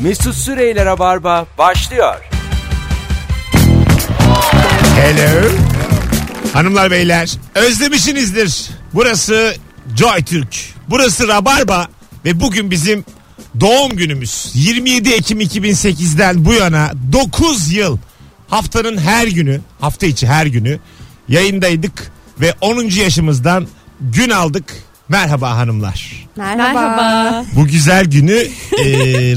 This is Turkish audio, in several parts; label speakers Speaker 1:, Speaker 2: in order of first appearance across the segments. Speaker 1: Mesut Süreyle Rabarba başlıyor.
Speaker 2: Hello. Hanımlar beyler özlemişsinizdir. Burası Joy Türk. Burası Rabarba ve bugün bizim doğum günümüz. 27 Ekim 2008'den bu yana 9 yıl haftanın her günü hafta içi her günü yayındaydık ve 10. yaşımızdan gün aldık. Merhaba hanımlar.
Speaker 3: Merhaba.
Speaker 2: Bu güzel günü e,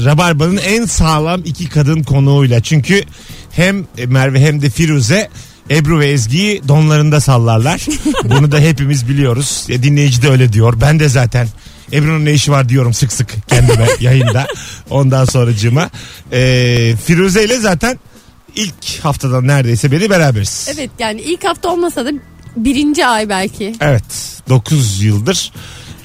Speaker 2: Rabarba'nın en sağlam iki kadın konuğuyla. Çünkü hem Merve hem de Firuze Ebru ve Ezgi'yi donlarında sallarlar. Bunu da hepimiz biliyoruz. E, dinleyici de öyle diyor. Ben de zaten Ebru'nun ne işi var diyorum sık sık kendime yayında. Ondan sonracığıma. E, Firuze ile zaten ilk haftadan neredeyse beri beraberiz.
Speaker 3: Evet yani ilk hafta olmasa da birinci ay belki.
Speaker 2: Evet. 9 yıldır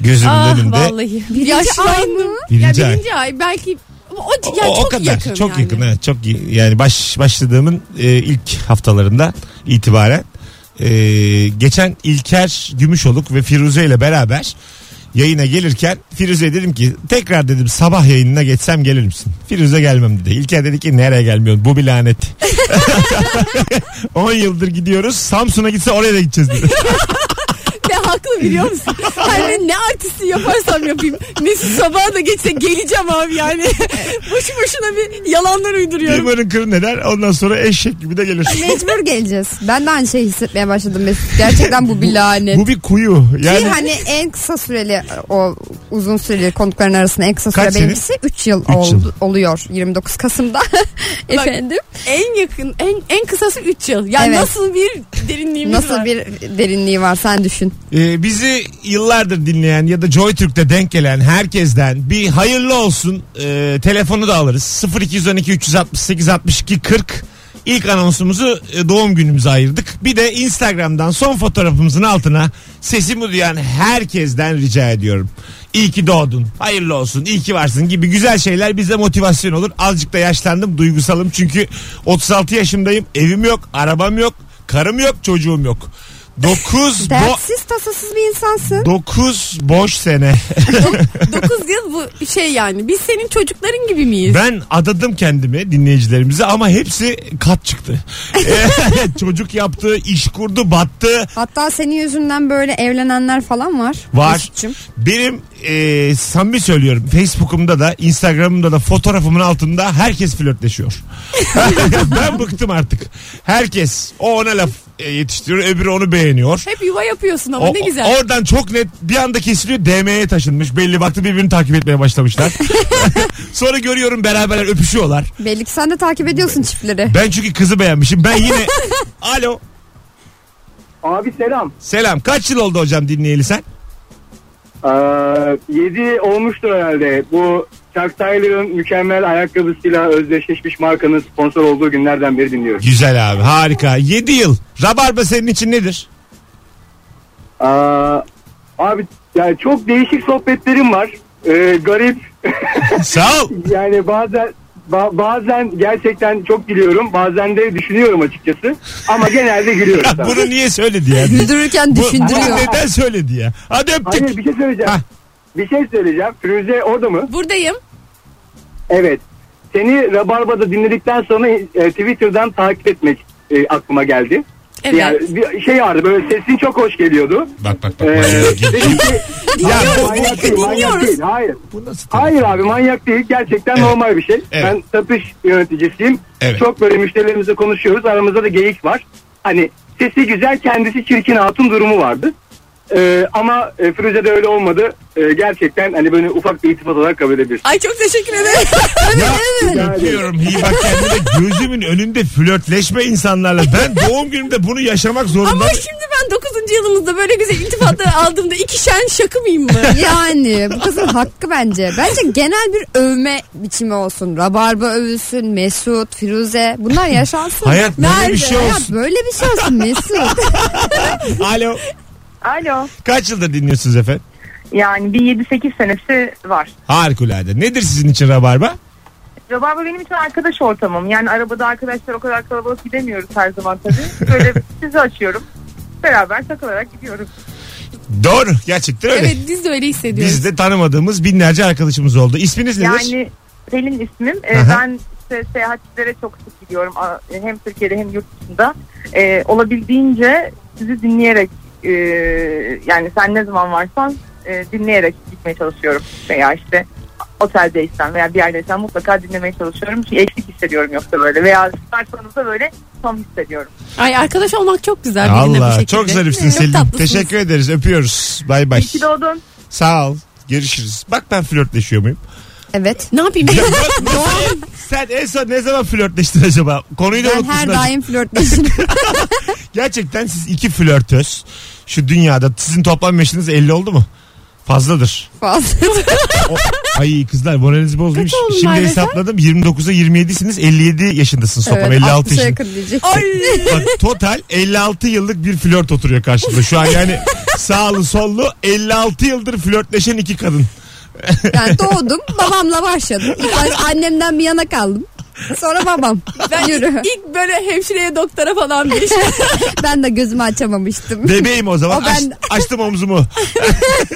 Speaker 2: gözümün
Speaker 3: Ah
Speaker 2: önünde.
Speaker 3: vallahi.
Speaker 4: Birinci ay mı?
Speaker 2: Birinci
Speaker 3: ya
Speaker 2: ay.
Speaker 3: birinci ay. belki o, yani
Speaker 2: o
Speaker 3: çok
Speaker 2: kadar
Speaker 3: yakın
Speaker 2: çok
Speaker 3: yani.
Speaker 2: yakın evet çok iyi. yani baş başladığımın e, ilk haftalarında itibaren e, geçen İlker Gümüşoluk ve Firuze ile beraber yayına gelirken Firuze dedim ki tekrar dedim sabah yayınına geçsem gelir misin? Firuze gelmem dedi. İlker dedi ki nereye gelmiyorsun bu bir lanet. 10 yıldır gidiyoruz Samsun'a gitse oraya da gideceğiz dedi.
Speaker 3: Ne haklı biliyor musun? Hani ne artisti yaparsam yapayım. Mesut sabaha da geçse geleceğim abi yani. Boşu boşuna bir yalanlar uyduruyorum.
Speaker 2: Limanın kırın eder ondan sonra eşek gibi de gelir.
Speaker 4: Mecbur geleceğiz. Ben de aynı şeyi hissetmeye başladım Mesut. Gerçekten bu bir lanet.
Speaker 2: Bu bir kuyu.
Speaker 4: Ki
Speaker 2: Yani
Speaker 4: hani en kısa süreli o uzun süreli konukların arasında en kısa süre
Speaker 2: Kaç
Speaker 4: benimkisi 3 yıl,
Speaker 2: Üç yıl.
Speaker 4: oldu- oluyor 29 Kasım'da. Efendim
Speaker 3: En yakın en en kısası 3 yıl. Yani
Speaker 4: Evet.
Speaker 3: nasıl bir derinliğimiz var.
Speaker 4: nasıl bir derinliği var sen düşün.
Speaker 2: Ee, bizi yıllardır dinleyen ya da JoyTürk'te denk gelen herkesten bir hayırlı olsun Ee, telefonu da alırız. 0212 368 62 40 İlk anonsumuzu e, doğum günümüze ayırdık. Bir de Instagram'dan son fotoğrafımızın altına sesimi duyan herkesten rica ediyorum. İyi ki doğdun, hayırlı olsun, iyi ki varsın gibi güzel şeyler bize motivasyon olur. Azıcık da yaşlandım, duygusalım çünkü 36 yaşındayım, evim yok, arabam yok, karım yok, çocuğum yok. 9
Speaker 4: Dertsiz tasasız bir insansın.
Speaker 2: 9 boş sene.
Speaker 3: 9 yıl bu şey yani. Biz senin çocukların gibi miyiz?
Speaker 2: Ben adadım kendimi dinleyicilerimize ama hepsi kat çıktı. Çocuk yaptı, iş kurdu, battı.
Speaker 4: Hatta senin yüzünden böyle evlenenler falan var.
Speaker 2: Var.
Speaker 4: Mesut'cum.
Speaker 2: Benim e, samimi söylüyorum Facebook'umda da Instagram'ımda da fotoğrafımın altında herkes flörtleşiyor. ben bıktım artık. Herkes o ona laf e, yetiştiriyor öbürü onu beğeniyor.
Speaker 3: Hep yuva yapıyorsun ama
Speaker 2: O-
Speaker 3: ne güzel.
Speaker 2: Oradan çok net bir anda kesiliyor DM'ye taşınmış. Belli baktı birbirini takip etmeye başlamışlar. Sonra görüyorum beraberler öpüşüyorlar.
Speaker 4: Belli ki sen de takip ediyorsun çiftleri.
Speaker 2: Ben çünkü kızı beğenmişim. Ben yine Alo.
Speaker 5: Abi selam.
Speaker 2: Selam. Kaç yıl oldu hocam dinleyeli sen?
Speaker 5: Ee, 7 olmuştur herhalde. Bu Chuck Taylor'ın mükemmel ayakkabısıyla özdeşleşmiş markanın sponsor olduğu günlerden beri dinliyorum.
Speaker 2: Güzel abi. Harika. 7 yıl. Rabarba senin için nedir?
Speaker 5: Ee, abi yani çok değişik sohbetlerim var. Ee, garip.
Speaker 2: Sağ ol.
Speaker 5: Yani bazen ba- bazen gerçekten çok gülüyorum. Bazen de düşünüyorum açıkçası. Ama genelde gülüyorum.
Speaker 2: Ya
Speaker 5: tabii.
Speaker 2: Bunu niye söyledi ya?
Speaker 4: Güldürürken
Speaker 2: Bu, bunu
Speaker 4: düşündürüyor.
Speaker 2: neden söyledi ya? Hadi
Speaker 5: Hayır
Speaker 2: öptük.
Speaker 5: bir şey söyleyeceğim.
Speaker 2: Hah.
Speaker 5: Bir şey söyleyeceğim. Firuze orada mı?
Speaker 3: Buradayım.
Speaker 5: Evet. Seni Rabarba'da dinledikten sonra e, Twitter'dan takip etmek e, aklıma geldi.
Speaker 3: Evet.
Speaker 5: Yani bir şey vardı böyle sesin çok hoş geliyordu.
Speaker 2: Bak bak
Speaker 5: Ee,
Speaker 2: bak. manyak.
Speaker 5: dedim ki
Speaker 2: Ya bu-
Speaker 5: manyak değil, manyak
Speaker 3: dinliyoruz.
Speaker 5: değil. Hayır.
Speaker 2: bu nasıl telefon?
Speaker 5: Hayır abi manyak değil. Gerçekten
Speaker 2: Evet.
Speaker 5: normal bir şey.
Speaker 2: Evet.
Speaker 5: Ben satış yöneticisiyim.
Speaker 2: Evet.
Speaker 5: Çok böyle müşterilerimizle konuşuyoruz. Aramızda da geyik var. Hani sesi güzel kendisi çirkin hatun durumu vardı. Ee, ama e, Firuze'de öyle olmadı. Ee, gerçekten hani böyle ufak bir iltifat olarak kabul edebilirsin.
Speaker 3: Ay çok teşekkür ederim.
Speaker 2: Ya, Öpüyorum. İyi bak kendine. Gözümün önünde flörtleşme insanlarla. Ben doğum günümde bunu yaşamak zorunda.
Speaker 3: Ama şimdi ben 9. yılımızda böyle güzel iltifatları aldığımda iki şen şakı mıyım mı?
Speaker 4: Yani bu kızın hakkı bence. Bence genel bir övme biçimi olsun. Rabarba övülsün, Mesut, Firuze. Bunlar yaşansın.
Speaker 2: Hayat böyle
Speaker 4: Nerede?
Speaker 2: bir şey
Speaker 4: Hayat
Speaker 2: olsun.
Speaker 4: böyle bir şey olsun Mesut.
Speaker 2: Alo.
Speaker 6: Alo.
Speaker 2: Kaç yıldır dinliyorsunuz efendim?
Speaker 6: Yani bir 7-8 senesi var.
Speaker 2: Harikulade. Nedir sizin için Rabarba?
Speaker 6: Rabarba benim için arkadaş ortamım. Yani arabada arkadaşlar o kadar kalabalık gidemiyoruz her zaman tabii. Böyle sizi açıyorum. Beraber takılarak gidiyoruz.
Speaker 2: Doğru. Gerçekten öyle.
Speaker 3: evet biz de öyle hissediyoruz.
Speaker 2: Biz de tanımadığımız binlerce arkadaşımız oldu. İsminiz nedir?
Speaker 6: Yani Pelin ismim. Ee,
Speaker 2: Aha.
Speaker 6: ben işte seyahatlere çok sık gidiyorum. A- Hem Türkiye'de hem yurt dışında. Ee, olabildiince sizi dinleyerek e, yani sen ne zaman varsan e, dinleyerek gitmeye çalışıyorum. Veya işte oteldeysem veya bir yerdeysem mutlaka dinlemeye çalışıyorum. Çünkü eksik hissediyorum yoksa böyle. Veya çıkarsanızda böyle tam hissediyorum.
Speaker 3: Ay arkadaş olmak çok güzel birine bu
Speaker 2: Allah
Speaker 3: şekilde.
Speaker 2: çok zarifsin
Speaker 3: Çok
Speaker 2: Selin.
Speaker 3: tatlısınız.
Speaker 2: Teşekkür ederiz. Öpüyoruz. Bay bay.
Speaker 6: İyi ki doğdun.
Speaker 2: Sağ ol. Görüşürüz. Bak ben flörtleşiyor muyum?
Speaker 4: Evet.
Speaker 3: Ne yapayım?
Speaker 2: Ya bak, Sen en son ne zaman flörtleştin acaba? Konuyu da
Speaker 4: Ben
Speaker 2: unutmuşsun
Speaker 4: her
Speaker 2: acaba.
Speaker 4: daim flörtleşirim.
Speaker 2: Gerçekten siz iki flörtöz. Şu dünyada sizin toplam yaşınız 50 oldu mu? Fazladır.
Speaker 4: fazla.
Speaker 2: O- Ay kızlar moralinizi bozmuş.
Speaker 3: Kaç oldu
Speaker 2: Şimdi
Speaker 3: maalesef?
Speaker 2: hesapladım 29'a 27'siniz 57 yaşındasınız toplam
Speaker 4: Evet,
Speaker 2: 56
Speaker 4: 60'a
Speaker 2: yaşındasınız.
Speaker 4: yakın diyecek.
Speaker 2: Bak, total 56 yıllık bir flört oturuyor karşımda şu an yani sağlı sollu 56 yıldır flörtleşen iki kadın.
Speaker 4: Yani doğdum babamla başladım. İlk baş annemden bir yana kaldım. Sonra babam. Ben yürü.
Speaker 3: İlk böyle hemşireye doktora falan bir iş.
Speaker 4: Ben de gözümü açamamıştım.
Speaker 2: Bebeğim o zaman
Speaker 4: O ben-
Speaker 2: Aç- açtım omzumu.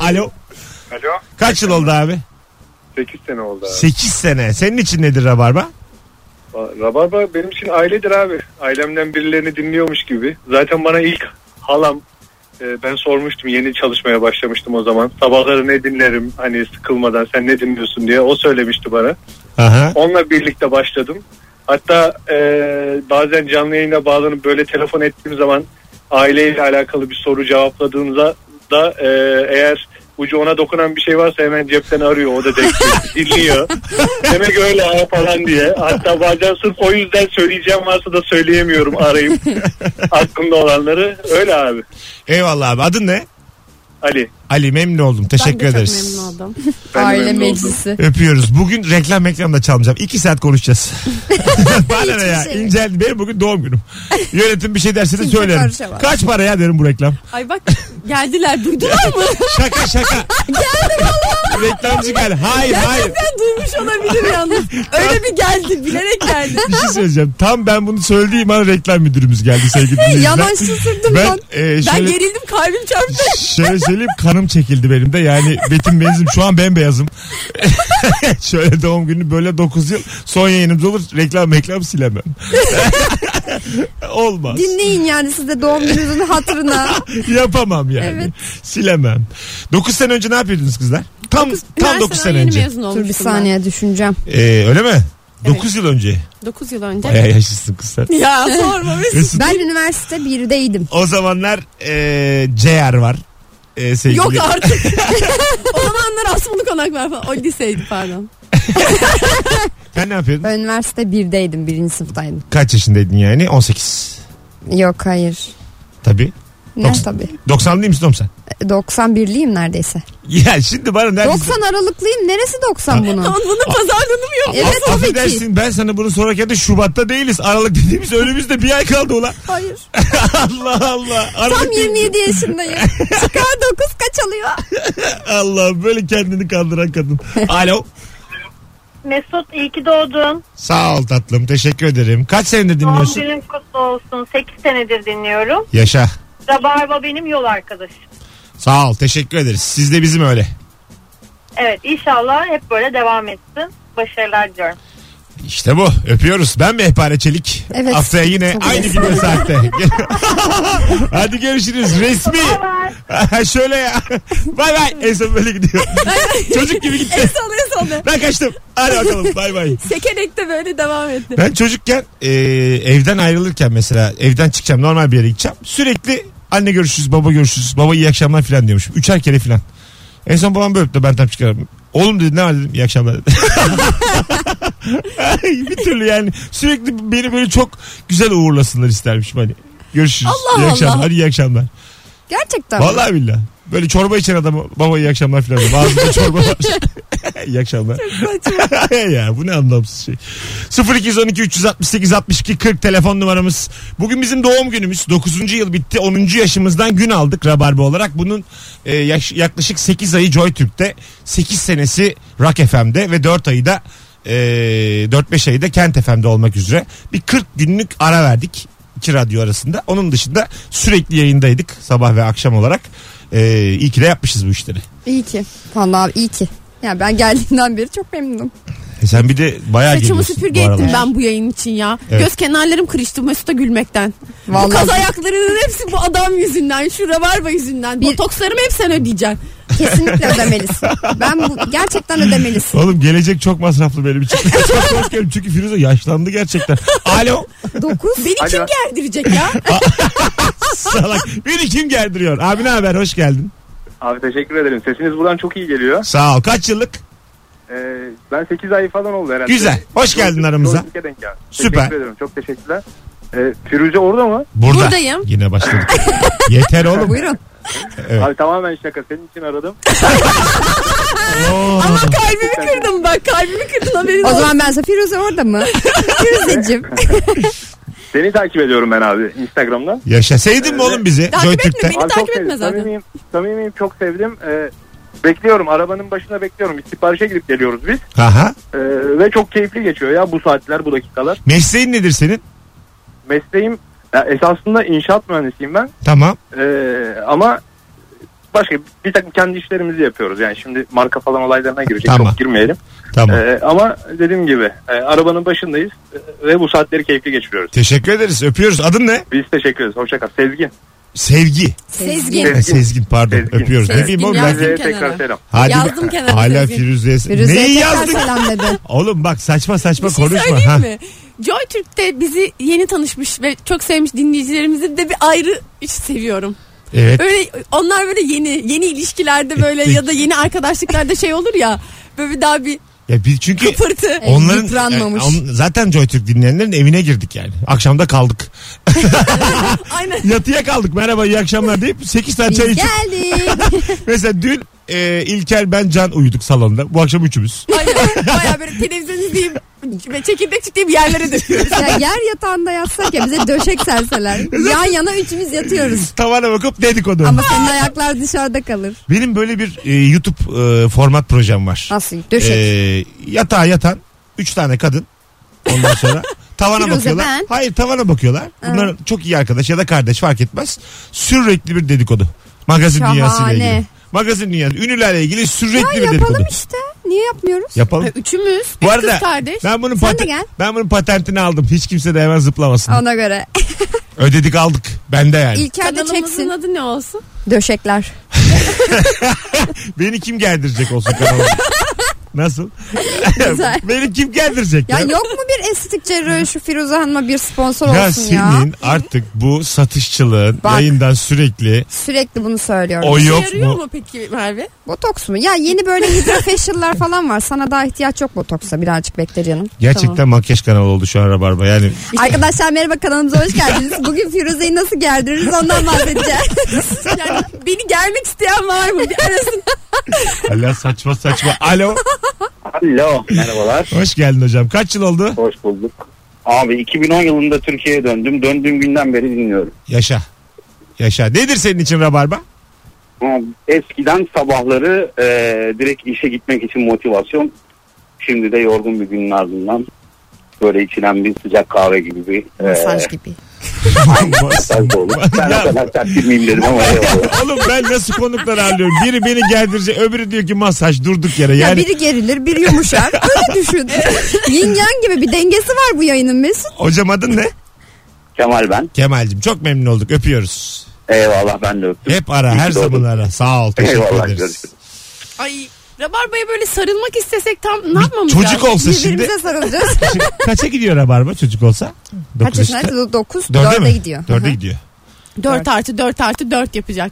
Speaker 2: Alo
Speaker 5: Alo.
Speaker 2: kaç yıl oldu abi?
Speaker 5: 8 sene oldu abi.
Speaker 2: 8 sene senin için nedir rabarba?
Speaker 5: Rabarba benim için ailedir abi. Ailemden birilerini dinliyormuş gibi. Zaten bana ilk halam e, ben sormuştum yeni çalışmaya başlamıştım o zaman. Sabahları ne dinlerim hani sıkılmadan sen ne dinliyorsun diye o söylemişti bana.
Speaker 2: Aha.
Speaker 5: Onunla birlikte başladım. Hatta e, bazen canlı yayına bağlanıp böyle telefon ettiğim zaman aileyle alakalı bir soru cevapladığımda da e, eğer ucu ona dokunan bir şey varsa hemen cepten arıyor. O da denk- dinliyor. Demek öyle ha falan diye. Hatta bazen sırf o yüzden söyleyeceğim varsa da söyleyemiyorum arayıp aklımda olanları. Öyle abi.
Speaker 2: Eyvallah abi adın ne?
Speaker 5: Ali.
Speaker 2: Ali memnun oldum teşekkür
Speaker 3: ben de
Speaker 2: ederiz.
Speaker 3: çok memnun oldum.
Speaker 5: ben de
Speaker 4: Aile
Speaker 5: memnun oldum.
Speaker 4: meclisi.
Speaker 2: Öpüyoruz. Bugün reklam reklam da çalmayacağım. İki saat konuşacağız. Bana ne
Speaker 4: Hiçbir
Speaker 2: ya?
Speaker 4: şey.
Speaker 2: İnceldi. Benim bugün doğum günüm. Yönetim bir şey derse de
Speaker 4: Kimse
Speaker 2: söylerim.
Speaker 4: karışamaz.
Speaker 2: Kaç para ya derim bu reklam.
Speaker 3: Ay bak geldiler duydular mı?
Speaker 2: Şaka şaka. Reklamcı gel. Hayır hayır.
Speaker 3: Gerçekten duymuş olabilir yalnız. Öyle bir geldi bilerek geldi.
Speaker 2: Bir şey söyleyeceğim. Tam ben bunu söylediğim an reklam müdürümüz geldi sevgili dinleyiciler.
Speaker 4: Yavaş şaşırdım
Speaker 2: Ben,
Speaker 4: ben.
Speaker 2: e,
Speaker 3: Ben
Speaker 2: şöyle,
Speaker 3: gerildim kalbim çarptı.
Speaker 2: şöyle söyleyeyim kanım çekildi benim de. Yani betim benzim şu an bembeyazım. şöyle doğum günü böyle 9 yıl son yayınımız olur. Reklam reklam silemem. Olmaz.
Speaker 4: Dinleyin yani siz de doğum gününüzün hatırına.
Speaker 2: Yapamam yani.
Speaker 4: Evet.
Speaker 2: Silemem. 9 sene önce ne yapıyordunuz kızlar? Tam tam 9 sene önce.
Speaker 4: Dur bir saniye düşüneceğim.
Speaker 2: Ee, öyle mi? 9 yıl önce.
Speaker 3: 9 yıl önce.
Speaker 2: Bayağı yaşlısın kız sen.
Speaker 3: Ya sorma Mesut.
Speaker 2: Mesut,
Speaker 4: Ben üniversite 1'deydim.
Speaker 2: o zamanlar ee, CR var. Ee, sevgili-
Speaker 3: Yok artık. o zamanlar Asmalı Konak var falan. O liseydi pardon.
Speaker 2: Sen ne yapıyordun?
Speaker 4: Ben üniversite 1'deydim. Birinci sınıftaydım.
Speaker 2: Kaç yaşındaydın yani? 18.
Speaker 4: Yok hayır.
Speaker 2: Tabii.
Speaker 4: Ne
Speaker 2: Doksan-
Speaker 4: tabii.
Speaker 2: 90'lı değil misin oğlum sen?
Speaker 4: E, 91'liyim neredeyse.
Speaker 2: Ya şimdi bana neredeyse...
Speaker 4: 90 aralıklıyım. Neresi 90 bunun?
Speaker 3: Onun bunun pazarlığını mı yok?
Speaker 4: Evet tabii ki.
Speaker 2: Affedersin ben sana bunu sorarken de Şubat'ta değiliz. Aralık dediğimiz önümüzde bir ay kaldı ulan.
Speaker 4: Hayır.
Speaker 2: Allah Allah. Aralık
Speaker 4: Tam 27 yaşındayım. Çıkar 9 kaç alıyor?
Speaker 2: Allah böyle kendini kandıran kadın. Alo.
Speaker 7: Mesut iyi ki doğdun.
Speaker 2: Sağ ol tatlım. Teşekkür ederim. Kaç senedir
Speaker 7: Doğum
Speaker 2: dinliyorsun?
Speaker 7: günün kutlu olsun. 8 senedir dinliyorum.
Speaker 2: Yaşa.
Speaker 7: Rabarba benim yol arkadaşım.
Speaker 2: Sağ ol. Teşekkür ederiz. Siz de bizim öyle.
Speaker 7: Evet inşallah hep böyle devam etsin. Başarılar diliyorum.
Speaker 2: İşte bu. Öpüyoruz. Ben Mehpare Çelik.
Speaker 4: Evet.
Speaker 2: Haftaya yine
Speaker 4: Çok
Speaker 2: aynı
Speaker 4: iyi.
Speaker 2: gün ve saatte. Hadi görüşürüz. Resmi. Şöyle ya. Bay bay. En son böyle gidiyor. Çocuk gibi gitti.
Speaker 3: Sallaya sallaya.
Speaker 2: Ben kaçtım. Hadi bakalım. Bay bay.
Speaker 3: Sekerek de böyle devam etti.
Speaker 2: Ben çocukken e, evden ayrılırken mesela evden çıkacağım normal bir yere gideceğim. Sürekli anne görüşürüz baba görüşürüz baba iyi akşamlar filan diyormuşum. Üçer kere filan. En son babam böyle öptü ben tam çıkarım. Oğlum dedi ne var dedim iyi akşamlar dedi. Ay, bir türlü yani sürekli beni böyle çok güzel uğurlasınlar istermişim hani. Görüşürüz.
Speaker 3: Allah
Speaker 2: iyi
Speaker 3: Allah.
Speaker 2: akşamlar. Hadi iyi akşamlar.
Speaker 4: Gerçekten. mi?
Speaker 2: Vallahi billah. Böyle çorba içen adama baba iyi akşamlar filan diyor. Ağzında çorba var. iyi akşamlar. ya bu ne anlamsız şey. 0212 368 62 40 telefon numaramız. Bugün bizim doğum günümüz. 9. yıl bitti. 10. yaşımızdan gün aldık Rabarba olarak. Bunun e, yaş- yaklaşık 8 ayı Joy Türk'te. 8 senesi Rock FM'de ve 4 ayı da e, 4-5 ayı da Kent FM'de olmak üzere. Bir 40 günlük ara verdik iki radyo arasında. Onun dışında sürekli yayındaydık sabah ve akşam olarak. E, iyi ki de yapmışız bu işleri.
Speaker 4: İyi ki. Vallahi iyi ki. Ya ben geldiğimden beri çok memnunum.
Speaker 2: E sen bir de bayağı
Speaker 3: Saçımı
Speaker 2: geliyorsun
Speaker 3: süpürge
Speaker 2: bu aralar.
Speaker 3: ettim ben bu yayın için ya.
Speaker 2: Evet.
Speaker 3: Göz kenarlarım kırıştı Mesut'a gülmekten. Bu
Speaker 4: Vallahi
Speaker 3: kaz ayaklarının hepsi bu adam yüzünden, şu rabarba yüzünden. Botokslarımı hep sen ödeyeceksin.
Speaker 4: kesinlikle ödemelisin. Ben bu gerçekten ödemelisin.
Speaker 2: Oğlum gelecek çok masraflı benim için. çok korkuyorum çünkü Firuze yaşlandı gerçekten. Alo.
Speaker 4: 9
Speaker 3: Beni kim gerdirecek ya?
Speaker 2: Salak. Beni kim gerdiriyor? Abi ne haber? Hoş geldin.
Speaker 5: Abi teşekkür ederim. Sesiniz buradan çok iyi geliyor.
Speaker 2: Sağ ol. Kaç yıllık?
Speaker 5: Ee, ben 8 ay falan oldu herhalde.
Speaker 2: Güzel. Hoş geldin aramıza.
Speaker 5: Doğru ülke denk geldi.
Speaker 2: Süper.
Speaker 5: Teşekkür ederim. Çok teşekkürler. Ee, Firuze orada mı?
Speaker 2: Burada.
Speaker 3: Buradayım.
Speaker 2: Yine başladık. Yeter oğlum.
Speaker 4: Buyurun.
Speaker 2: Evet.
Speaker 5: Abi tamamen şaka. Senin için aradım.
Speaker 2: Oo.
Speaker 3: kalbimi kırdım bak kalbimi kırdın haberin
Speaker 4: O
Speaker 3: olsun.
Speaker 4: zaman ben size Firuze orada mı? Firuzeciğim.
Speaker 5: Seni takip ediyorum ben abi Instagram'dan.
Speaker 2: Yaşa. Sevdin mi oğlum bizi?
Speaker 3: Takip
Speaker 2: Joytürk'te.
Speaker 3: etme Beni
Speaker 5: abi
Speaker 3: takip
Speaker 5: çok
Speaker 3: etme
Speaker 5: sevdim.
Speaker 3: zaten.
Speaker 5: Samimiyim, samimiyim çok sevdim. Ee, bekliyorum. Arabanın başına bekliyorum. Bir siparişe gidip geliyoruz biz.
Speaker 2: Aha.
Speaker 5: Ee, ve çok keyifli geçiyor ya bu saatler bu dakikalar.
Speaker 2: Mesleğin nedir senin?
Speaker 5: Mesleğim ya esasında inşaat mühendisiyim ben.
Speaker 2: Tamam.
Speaker 5: Ee, ama başka bir takım kendi işlerimizi yapıyoruz. Yani şimdi marka falan olaylarına girecek.
Speaker 2: Tamam.
Speaker 5: Çok girmeyelim.
Speaker 2: Tamam.
Speaker 5: Ee, ama dediğim gibi e, arabanın başındayız e, ve bu saatleri keyifli geçiriyoruz.
Speaker 2: Teşekkür ederiz. Öpüyoruz. Adın ne?
Speaker 5: Biz teşekkür ederiz. Hoşça kal. Sezgin.
Speaker 2: Sevgi.
Speaker 3: Sezgin.
Speaker 2: Ha, Sezgin pardon.
Speaker 5: Sezgin.
Speaker 2: Öpüyoruz. Ne
Speaker 3: Sezgin
Speaker 2: diyeyim oğlum ben?
Speaker 3: Yazdım
Speaker 5: Size
Speaker 3: kenara.
Speaker 5: tekrar selam.
Speaker 2: Hadi
Speaker 3: Yazdım
Speaker 2: be.
Speaker 3: kenara
Speaker 2: Hala
Speaker 3: Sezgin.
Speaker 2: Firuze'ye.
Speaker 4: Firuze'ye
Speaker 2: Neyi
Speaker 4: tekrar
Speaker 2: yazdın?
Speaker 4: selam dedi.
Speaker 2: Oğlum bak saçma saçma
Speaker 3: Bir şey
Speaker 2: konuşma.
Speaker 3: söyleyeyim
Speaker 2: Ha.
Speaker 3: mi? Joy Türk'te bizi yeni tanışmış ve çok sevmiş dinleyicilerimizi de bir ayrı seviyorum.
Speaker 2: Evet.
Speaker 3: Böyle onlar böyle yeni yeni ilişkilerde böyle
Speaker 2: Ettik.
Speaker 3: ya da yeni arkadaşlıklarda şey olur ya. Böyle bir daha bir
Speaker 2: Ya biz çünkü
Speaker 3: kıpırtı.
Speaker 2: Onların
Speaker 4: E, yıpranmamış.
Speaker 2: yani on- zaten JoyTürk dinleyenlerin evine girdik yani. Akşamda kaldık.
Speaker 3: Aynen.
Speaker 2: Yatıya kaldık. Merhaba iyi akşamlar deyip 8 tane
Speaker 4: Biz
Speaker 2: çay içip.
Speaker 4: geldik.
Speaker 2: Mesela dün e, İlker ben Can uyuduk salonda. Bu akşam üçümüz.
Speaker 3: Aynen. Baya böyle televizyon izleyip ve çekirdek çitleyip yerlere döküyoruz.
Speaker 4: ya yer yatağında yatsak ya bize döşek serseler. Yan yana üçümüz yatıyoruz.
Speaker 2: Tavana bakıp dedikodu.
Speaker 4: Ama senin ayaklar dışarıda kalır.
Speaker 2: Benim böyle bir e, YouTube e, format projem var.
Speaker 4: Nasıl? Döşek.
Speaker 2: E, yatağa yatan 3 tane kadın. Ondan sonra tavana
Speaker 4: Firuze,
Speaker 2: bakıyorlar.
Speaker 4: ben.
Speaker 2: Hayır tavana bakıyorlar. Bunlar çok iyi arkadaş ya da kardeş fark etmez. Sürekli bir dedikodu. Magazin
Speaker 4: Şahane.
Speaker 2: dünyasıyla ilgili. Magazin dünyası. Ünlülerle ilgili sürekli bir dedikodu.
Speaker 4: Yapalım işte. Niye yapmıyoruz?
Speaker 2: Yapalım.
Speaker 3: Üçümüz. Bir
Speaker 2: Bu arada
Speaker 3: kız kardeş.
Speaker 2: ben bunun
Speaker 4: Sen de
Speaker 2: paten-
Speaker 4: gel.
Speaker 2: ben bunun patentini aldım. Hiç kimse de hemen zıplamasın.
Speaker 4: Ona göre.
Speaker 2: Ödedik aldık. Bende yani.
Speaker 4: İlker de
Speaker 3: Kanalımızın
Speaker 4: çeksin.
Speaker 3: adı ne olsun?
Speaker 4: Döşekler.
Speaker 2: Beni kim geldirecek olsun kanalıma? Nasıl?
Speaker 4: Güzel.
Speaker 2: Beni kim geldirecek?
Speaker 4: Ya yok mu bir estetik cerrahı şu Firuze Hanım'a bir sponsor olsun
Speaker 2: Ya
Speaker 4: ya?
Speaker 2: senin artık bu satışçılığın
Speaker 4: Bak.
Speaker 2: yayından sürekli
Speaker 4: Sürekli bunu söylüyorum.
Speaker 2: o
Speaker 3: İşe
Speaker 2: yok
Speaker 3: yarıyor
Speaker 2: mu?
Speaker 3: mu peki Merve?
Speaker 4: Botoks mu? Ya yeni böyle hidrofacial'lar falan var. Sana daha ihtiyaç yok botoksa. Birazcık bekle canım.
Speaker 2: Gerçekten makyaj kanalı oldu şu an Rabarba. Yani
Speaker 4: Arkadaşlar merhaba kanalımıza hoş geldiniz. Bugün Firuze'yi nasıl gerdiririz ondan bahsedeceğiz.
Speaker 3: Yani beni gelmek isteyen var mı? Bir arasın.
Speaker 2: Allah saçma saçma. Alo.
Speaker 8: Alo merhabalar.
Speaker 2: Hoş geldin hocam. Kaç yıl oldu?
Speaker 8: Hoş bulduk. Abi 2010 yılında Türkiye'ye döndüm. Döndüğüm günden beri dinliyorum.
Speaker 2: Yaşa. Yaşa. Nedir senin için Rabarba?
Speaker 8: Ama Eskiden sabahları e, direkt işe gitmek için motivasyon. Şimdi de yorgun bir günün ardından böyle içilen bir sıcak kahve gibi bir e,
Speaker 4: Mesaj gibi.
Speaker 8: mesaj da olur. Ben
Speaker 2: Ya.
Speaker 8: o kadar sert bilmeyeyim dedim ama eyvallah.
Speaker 2: Oğlum ben nasıl konukları ağırlıyorum? Biri beni gerdirecek öbürü diyor ki masaj durduk yere.
Speaker 4: Ya
Speaker 2: Yani
Speaker 4: biri gerilir biri yumuşar. Öyle düşün. Yin yang gibi bir dengesi var bu yayının Mesut.
Speaker 2: hocam adın ne?
Speaker 8: Kemal ben.
Speaker 2: Kemal'cim çok memnun olduk öpüyoruz.
Speaker 8: Eyvallah ben de öptüm.
Speaker 2: Hep ara
Speaker 8: İyi ki
Speaker 2: her
Speaker 8: doğdun.
Speaker 2: zaman ara. Sağ ol teşekkür
Speaker 8: Eyvallah,
Speaker 2: ederiz.
Speaker 8: görüşürüz.
Speaker 3: Ay Rabarba'ya böyle sarılmak istesek tam ne yapmamız lazım?
Speaker 2: Çocuk olsa şimdi.
Speaker 4: Birbirimize sarılacağız.
Speaker 2: Şimdi Kaça gidiyor Rabarba çocuk olsa?
Speaker 4: Kaç
Speaker 2: Dokuz
Speaker 4: yaşında?
Speaker 2: yaşında.
Speaker 4: 9,
Speaker 2: Dörde
Speaker 4: 4'e
Speaker 2: mi?
Speaker 4: gidiyor.
Speaker 2: Dörde
Speaker 4: Hı hı.
Speaker 2: gidiyor.
Speaker 3: 4 artı 4 artı 4 yapacak.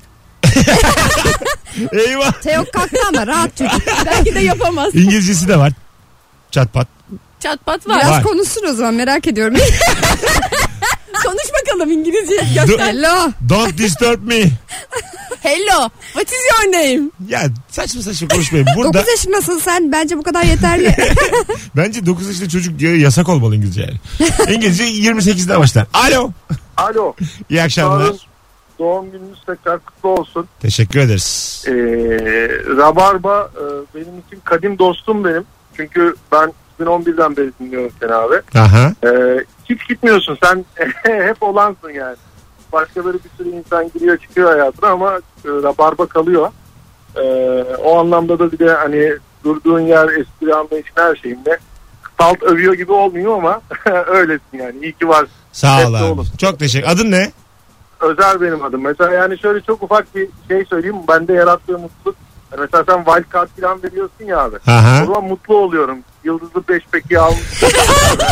Speaker 2: Eyvah.
Speaker 4: Teo kalktı ama rahat çocuk.
Speaker 3: Belki de yapamaz.
Speaker 2: İngilizcesi de var. Çat pat.
Speaker 3: Çatpat var.
Speaker 4: Biraz
Speaker 2: Var.
Speaker 4: konuşsun o zaman merak ediyorum.
Speaker 3: Konuş bakalım İngilizce.
Speaker 2: Do-
Speaker 4: Hello.
Speaker 2: don't disturb me.
Speaker 3: Hello. What is your name?
Speaker 2: Ya saçma saçma konuşmayın. Burada
Speaker 4: 9 yaşındasın sen bence bu kadar yeterli. E,
Speaker 2: bence 9 yaşında çocuk diye yasak olmalı İngilizce yani. İngilizce 28'de başlar. Alo.
Speaker 5: Alo.
Speaker 2: İyi akşamlar.
Speaker 5: Sağ Doğum gününüz tekrar kutlu olsun.
Speaker 2: Teşekkür ederiz.
Speaker 5: Ee, Rabarba e, benim için kadim dostum benim. Çünkü ben 2011'den beri dinliyorum seni abi.
Speaker 2: Aha.
Speaker 5: Ee, hiç gitmiyorsun sen hep olansın yani. Başkaları bir sürü insan giriyor çıkıyor hayatına ama e, Rabarba kalıyor. Ee, o anlamda da bir de hani durduğun yer, espri anlayışın her şeyinde. Salt övüyor gibi olmuyor ama öylesin yani. İyi ki varsın.
Speaker 2: Sağ ol
Speaker 5: Hepsi
Speaker 2: abi.
Speaker 5: olur.
Speaker 2: Çok teşekkür. Adın ne?
Speaker 5: Özer benim adım. Mesela yani şöyle çok ufak bir şey söyleyeyim. Bende yarattığı mutluluk. Yani Mesela sen wildcard falan veriyorsun ya abi.
Speaker 2: Aha.
Speaker 5: O zaman mutlu oluyorum. Yıldızlı beşpeki almış. Yani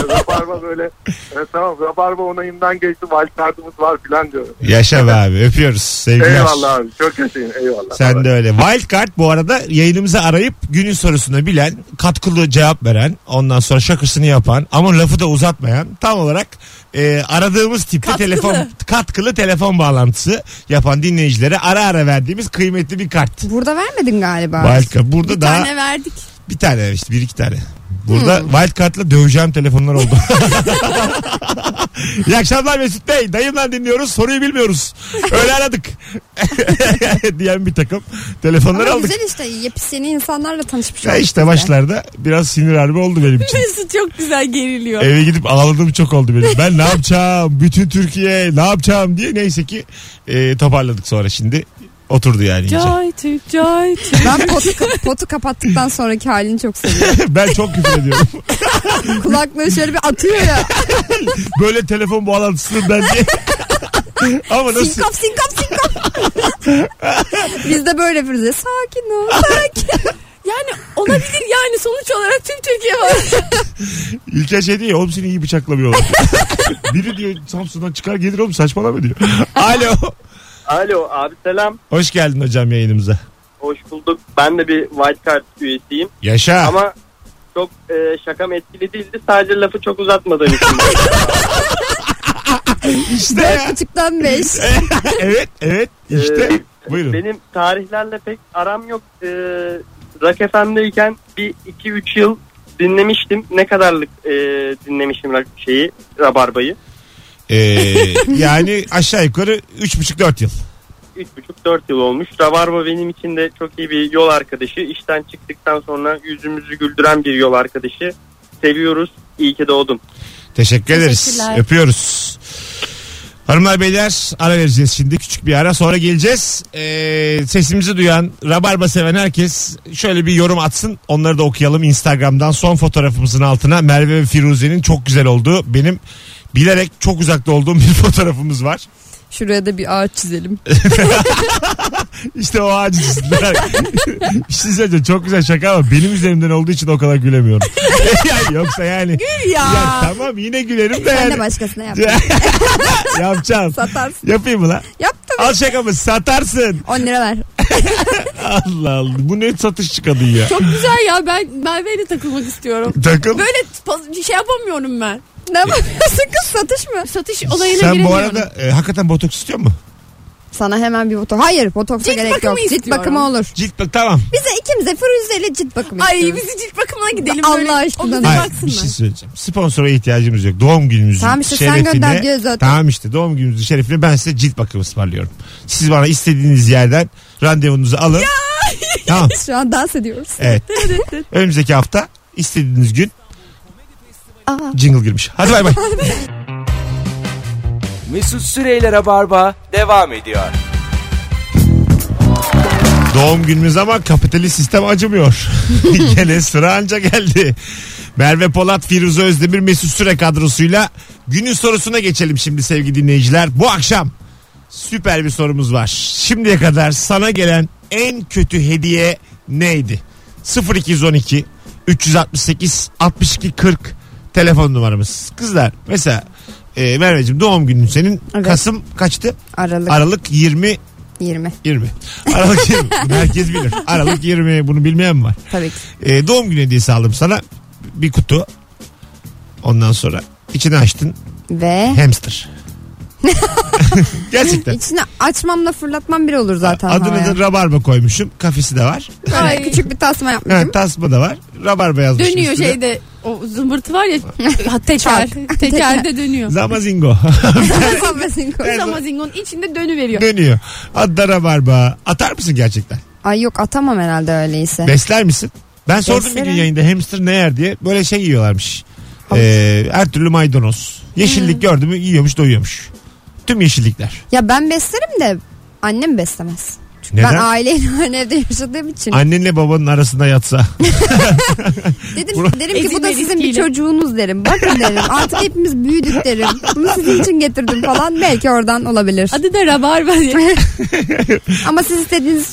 Speaker 5: rabarba böyle. Evet, tamam Rabarba onayından geçti. Wildcard'ımız var falan diyorum.
Speaker 2: Yaşa be abi. Öpüyoruz. Sevgiler.
Speaker 5: Eyvallah abi. Çok yaşayın. Eyvallah.
Speaker 2: Sen de öyle. Wildcard bu arada yayınımızı arayıp günün sorusunu bilen, katkılı cevap veren, ondan sonra şakasını yapan ama lafı da uzatmayan tam olarak e, aradığımız tipte
Speaker 3: Katkılı.
Speaker 2: telefon katkılı telefon bağlantısı yapan dinleyicilere ara ara verdiğimiz kıymetli bir kart.
Speaker 4: Burada vermedin galiba.
Speaker 2: Wildcard. Burada
Speaker 3: Bir
Speaker 2: daha
Speaker 3: tane verdik.
Speaker 2: bir tane işte bir iki tane. Burada wildcard'la döveceğim telefonlar oldu. İyi akşamlar Mesut Bey. Dayımdan dinliyoruz. Soruyu bilmiyoruz. Öyle aradık. diyen bir takım telefonları
Speaker 4: Ama
Speaker 2: aldık.
Speaker 4: güzel işte yepis yeni insanlarla tanışmış
Speaker 2: Ya
Speaker 4: olduk
Speaker 2: işte
Speaker 4: biz de.
Speaker 2: başlarda biraz sinir harbi oldu benim için.
Speaker 3: Mesut çok güzel geriliyor.
Speaker 2: Eve gidip ağladığım çok oldu benim. Ben ne yapacağım? Bütün Türkiye ne yapacağım diye neyse ki e, toparladık sonra şimdi. Oturdu yani iyice.
Speaker 3: Joy Türk, Joy Türk.
Speaker 4: Ben potu, potu kapattıktan sonraki halini çok seviyorum.
Speaker 2: ben çok küfür ediyorum.
Speaker 4: Kulaklığı şöyle bir atıyor ya.
Speaker 2: Böyle telefon bağlantısını ben diye. Ama nasıl?
Speaker 4: Sinkop sinkop sinkop. Biz de böyle yapıyoruz. ya, Sakin ol. Sakin.
Speaker 3: Yani olabilir yani sonuç olarak tüm Türkiye var.
Speaker 2: İlker şey diyor ya oğlum seni iyi bıçaklamıyorlar. Biri diyor Samsun'dan çıkar gelir oğlum saçmalama diyor. Alo.
Speaker 9: Alo abi selam.
Speaker 2: Hoş geldin hocam yayınımıza.
Speaker 9: Hoş bulduk. Ben de bir wildcard üyesiyim.
Speaker 2: Yaşa.
Speaker 9: Ama çok e, şakam etkili değildi. Sadece lafı çok uzatmadığım için.
Speaker 2: işte
Speaker 4: Dört
Speaker 2: ya.
Speaker 4: buçuktan beş.
Speaker 2: evet evet işte.
Speaker 9: Ee,
Speaker 2: Buyurun.
Speaker 9: Benim tarihlerle pek aram yok. Ee, Rock FM'deyken bir 2-3 yıl dinlemiştim. Ne kadarlık e, dinlemişim rock şeyi, Rabarba'yı.
Speaker 2: Ee, yani aşağı yukarı 3,5-4 yıl.
Speaker 9: 3,5-4 yıl olmuş. Rabarba benim için de çok iyi bir yol arkadaşı. İşten çıktıktan sonra yüzümüzü güldüren bir yol arkadaşı. Seviyoruz. İyi ki doğdum.
Speaker 2: Teşekkür ederiz. Öpüyoruz. Hanımlar beyler ara vereceğiz şimdi küçük bir ara sonra geleceğiz. Ee, sesimizi duyan rabarba seven herkes şöyle bir yorum atsın onları da okuyalım Instagram'dan son fotoğrafımızın altına Merve ve Firuze'nin çok güzel olduğu benim bilerek çok uzakta olduğum bir fotoğrafımız var.
Speaker 4: Şuraya da bir ağaç çizelim.
Speaker 2: İşte o ağacın üstünde. bir şey söyleyeceğim çok güzel şaka ama benim üzerimden olduğu için o kadar gülemiyorum. Yani Yoksa yani. Gül
Speaker 3: ya.
Speaker 2: tamam yine gülerim de
Speaker 4: Sen
Speaker 2: yani.
Speaker 4: de başkasına yap.
Speaker 2: Yapacağım.
Speaker 4: Satarsın.
Speaker 2: Yapayım mı lan?
Speaker 4: Yap tabii.
Speaker 2: Al şakamı satarsın.
Speaker 4: 10 lira ver.
Speaker 2: Allah Allah. Bu ne satış çıkadı ya.
Speaker 3: Çok güzel ya ben Merve'yle takılmak istiyorum.
Speaker 2: Takıl.
Speaker 3: Böyle pa- şey yapamıyorum ben.
Speaker 4: Ne yapıyorsun kız satış mı?
Speaker 3: Satış olayına
Speaker 2: Sen bu
Speaker 3: giremiyorum.
Speaker 2: arada e, hakikaten botoks istiyor mu?
Speaker 4: Sana hemen bir botoks. Hayır botoksa
Speaker 3: Cilt
Speaker 4: gerek yok.
Speaker 3: bakımı
Speaker 4: Cilt
Speaker 3: istiyorum.
Speaker 4: bakımı olur.
Speaker 2: Cilt bak tamam.
Speaker 4: Bize ikimize Firuze ile cilt bakımı
Speaker 3: Ay
Speaker 4: istiyoruz.
Speaker 3: bizi cilt bakımına gidelim
Speaker 4: Allah
Speaker 3: böyle.
Speaker 4: aşkına.
Speaker 3: O bize
Speaker 2: Hayır, bir
Speaker 3: baksınlar.
Speaker 2: şey söyleyeceğim. Sponsora ihtiyacımız yok. Doğum günümüzün
Speaker 4: Tamam işte sen
Speaker 2: şerefine.
Speaker 4: gönder diyor zaten.
Speaker 2: Tamam işte doğum günümüzün şerefine ben size cilt bakımı ısmarlıyorum. Siz bana istediğiniz yerden randevunuzu alın. Tamam.
Speaker 4: Şu an dans ediyoruz.
Speaker 2: Evet. Önümüzdeki hafta istediğiniz gün
Speaker 4: Aa.
Speaker 2: jingle girmiş. Hadi bay bay.
Speaker 1: Mesut Süreyler'e barba devam ediyor.
Speaker 2: Doğum günümüz ama kapitalist sistem acımıyor. Gene sıra anca geldi. Merve Polat, Firuze Özdemir, Mesut Süre kadrosuyla günün sorusuna geçelim şimdi sevgili dinleyiciler. Bu akşam süper bir sorumuz var. Şimdiye kadar sana gelen en kötü hediye neydi? 0212 368 62 40 telefon numaramız. Kızlar mesela e, Merveciğim doğum günün senin
Speaker 4: Evet.
Speaker 2: Kasım kaçtı?
Speaker 4: Aralık
Speaker 2: Aralık 20
Speaker 4: 20
Speaker 2: 20. Aralık 20. Bunu herkes bilir. Aralık 20. Bunu bilmeyen mi var?
Speaker 4: tabii ki.
Speaker 2: Ee, doğum günü hediyesi aldım sana. Bir kutu. Ondan sonra içini açtın.
Speaker 4: Ve
Speaker 2: Hamster. Gerçekten.
Speaker 4: içine açmamla fırlatmam bir olur zaten.
Speaker 2: Adını
Speaker 4: havaya.
Speaker 2: da rabarba koymuşum. Kafesi de var.
Speaker 4: Böyle
Speaker 3: Ay.
Speaker 4: küçük bir tasma yapmışım.
Speaker 2: Evet, tasma da var. Rabarba yazmışım.
Speaker 3: Dönüyor
Speaker 2: şey üstüne.
Speaker 3: şeyde o zımbırtı var ya ha, teker. tekerde dönüyor.
Speaker 2: Zamazingo.
Speaker 3: Kız Amazingo'nun içinde dönüveriyor.
Speaker 2: Dönüyor. Adı da rabarba. Atar mısın gerçekten?
Speaker 4: Ay yok atamam herhalde öyleyse.
Speaker 2: Besler misin? Ben sordum bir gün
Speaker 4: Beslerim.
Speaker 2: yayında hamster ne yer diye. Böyle şey yiyorlarmış. Ee, her türlü maydanoz. Yeşillik gördü mü yiyormuş doyuyormuş. Tüm yeşillikler.
Speaker 4: Ya ben beslerim de annem beslemez.
Speaker 2: Neden?
Speaker 4: Ben aileyle aynı evde yaşadığım için.
Speaker 2: Annenle babanın arasında yatsa.
Speaker 4: Dedim,
Speaker 2: Bura-
Speaker 4: derim ki bu da
Speaker 3: Ezilme
Speaker 4: sizin bir
Speaker 3: riskiyle.
Speaker 4: çocuğunuz derim. Bakın derim artık hepimiz büyüdük derim. Bunu sizin için getirdim falan belki oradan olabilir.
Speaker 3: Adı da rabarba. diye.
Speaker 4: Ama siz istediğinizi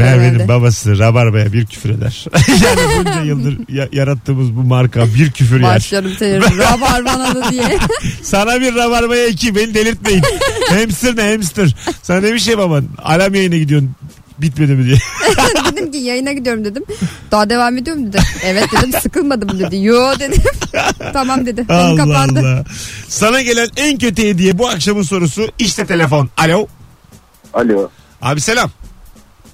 Speaker 2: Merve'nin
Speaker 4: herhalde.
Speaker 2: babası Rabarba'ya bir küfür eder. yani bunca yıldır ya- yarattığımız bu marka bir küfür yer.
Speaker 4: Başlarım seni rabarban adı diye.
Speaker 2: Sana bir rabarbaya iki beni delirtmeyin. hamster ne hamster. Sana ne bir şey baban. Alam yayına gidiyorsun bitmedi mi diye.
Speaker 4: dedim ki yayına gidiyorum dedim. Daha devam ediyor mu dedi. Evet dedim sıkılmadım dedi. Yo dedim. tamam dedi. Konu
Speaker 2: Allah
Speaker 4: kapandı.
Speaker 2: Allah. Sana gelen en kötü hediye bu akşamın sorusu işte telefon. Alo.
Speaker 8: Alo.
Speaker 2: Abi selam.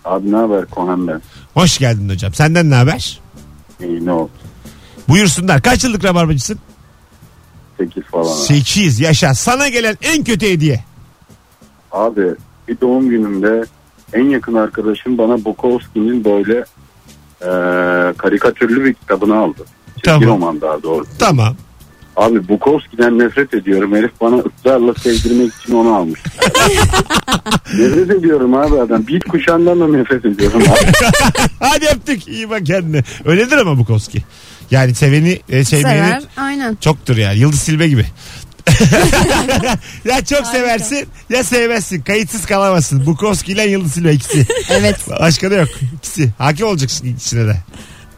Speaker 8: Abi ne haber Kohan ben?
Speaker 2: Hoş geldin hocam. Senden ne haber?
Speaker 8: İyi ne oldu?
Speaker 2: Buyursunlar. Kaç yıllık rabarbacısın?
Speaker 8: 8 falan.
Speaker 2: 8 yaşa. Sana gelen en kötü hediye.
Speaker 8: Abi bir doğum günümde en yakın arkadaşım bana Bukowski'nin böyle eee, karikatürlü bir kitabını aldı. Çizgi
Speaker 2: Tamam.
Speaker 8: roman daha doğrusu.
Speaker 2: Tamam.
Speaker 8: Abi Bukowski'den nefret ediyorum. Herif bana ısrarla sevdirmek için onu almış. nefret ediyorum abi adam. Beat kuşağından da nefret ediyorum abi.
Speaker 2: Hadi yaptık. İyi bak kendine. Öyledir ama Bukowski. Yani seveni e, sevmeyeni
Speaker 4: Sever. Aynen.
Speaker 2: çoktur yani. Yıldız Silbe gibi. ya çok seversin ya sevmezsin. Kayıtsız kalamazsın. Bukowski ile Yıldız Silbe ikisi.
Speaker 4: Evet.
Speaker 2: Başka da yok. İkisi. Hakim olacaksın ikisine de.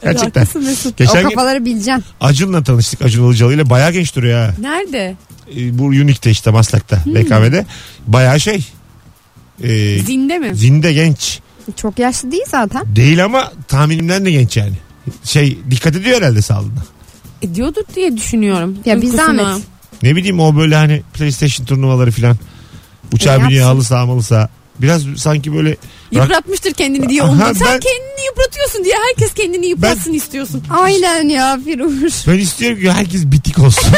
Speaker 2: Gerçekten.
Speaker 3: Haklısın Mesut.
Speaker 4: O
Speaker 2: Geçen gün
Speaker 4: kafaları bileceksin.
Speaker 2: Acun'la tanıştık. Acun Ilıcalı ile bayağı genç duruyor ha.
Speaker 3: Nerede?
Speaker 2: E, Bu Unique'de işte Maslak'ta. BKM'de. Bayağı şey. E,
Speaker 3: Zinde mi?
Speaker 2: zinde genç.
Speaker 4: Çok yaşlı değil zaten.
Speaker 2: Değil ama tahminimden de genç yani. Şey dikkat ediyor herhalde sağlığına.
Speaker 3: E, diyordur diye düşünüyorum.
Speaker 4: Ya bir
Speaker 3: Uykusuna.
Speaker 4: zahmet.
Speaker 2: Ne bileyim o böyle hani PlayStation turnuvaları filan.
Speaker 4: E,
Speaker 2: Uçağa
Speaker 4: yapsın.
Speaker 2: biniyor halı saha malı saha. Biraz sanki böyle
Speaker 3: Yıpratmıştır kendini diye
Speaker 2: Aha,
Speaker 3: onu.
Speaker 2: ben-
Speaker 3: Sen kendini yıpratıyorsun diye herkes kendini yıpratsın istiyorsun.
Speaker 4: Aynen ya Firuş.
Speaker 2: ben istiyorum ki herkes bitik olsun.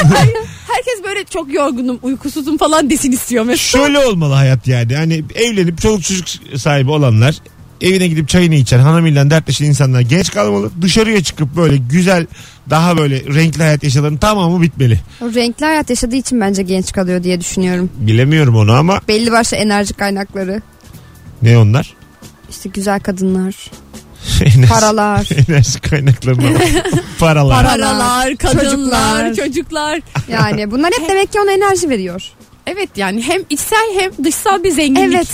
Speaker 3: Herkes böyle çok yorgunum, uykusuzum falan desin istiyor mesela.
Speaker 2: Şöyle olmalı hayat yani. Hani evlenip çoluk çocuk sahibi olanlar evine gidip çayını içen hanımıyla dertleşen insanlar genç kalmalı. Dışarıya çıkıp böyle güzel daha böyle renkli hayat yaşaların tamamı bitmeli.
Speaker 4: O renkli hayat yaşadığı için bence genç kalıyor diye düşünüyorum.
Speaker 2: Bilemiyorum onu ama
Speaker 4: Belli başlı enerji kaynakları.
Speaker 2: ne onlar?
Speaker 4: İşte güzel kadınlar.
Speaker 2: Enerji-
Speaker 4: Paralar.
Speaker 2: Enerji kaynaklarına paralar.
Speaker 4: Para-
Speaker 3: Paralar, kadınlar,
Speaker 4: Çocuklar.
Speaker 3: çocuklar.
Speaker 4: Yani bunlar hep demek ki ona enerji veriyor.
Speaker 3: Evet yani hem içsel hem dışsal bir zenginlik.
Speaker 4: Evet.